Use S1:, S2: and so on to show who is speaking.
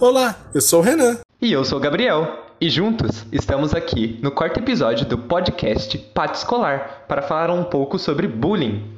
S1: Olá, eu sou o Renan.
S2: E eu sou o Gabriel. E juntos estamos aqui no quarto episódio do podcast Pátio Escolar para falar um pouco sobre bullying.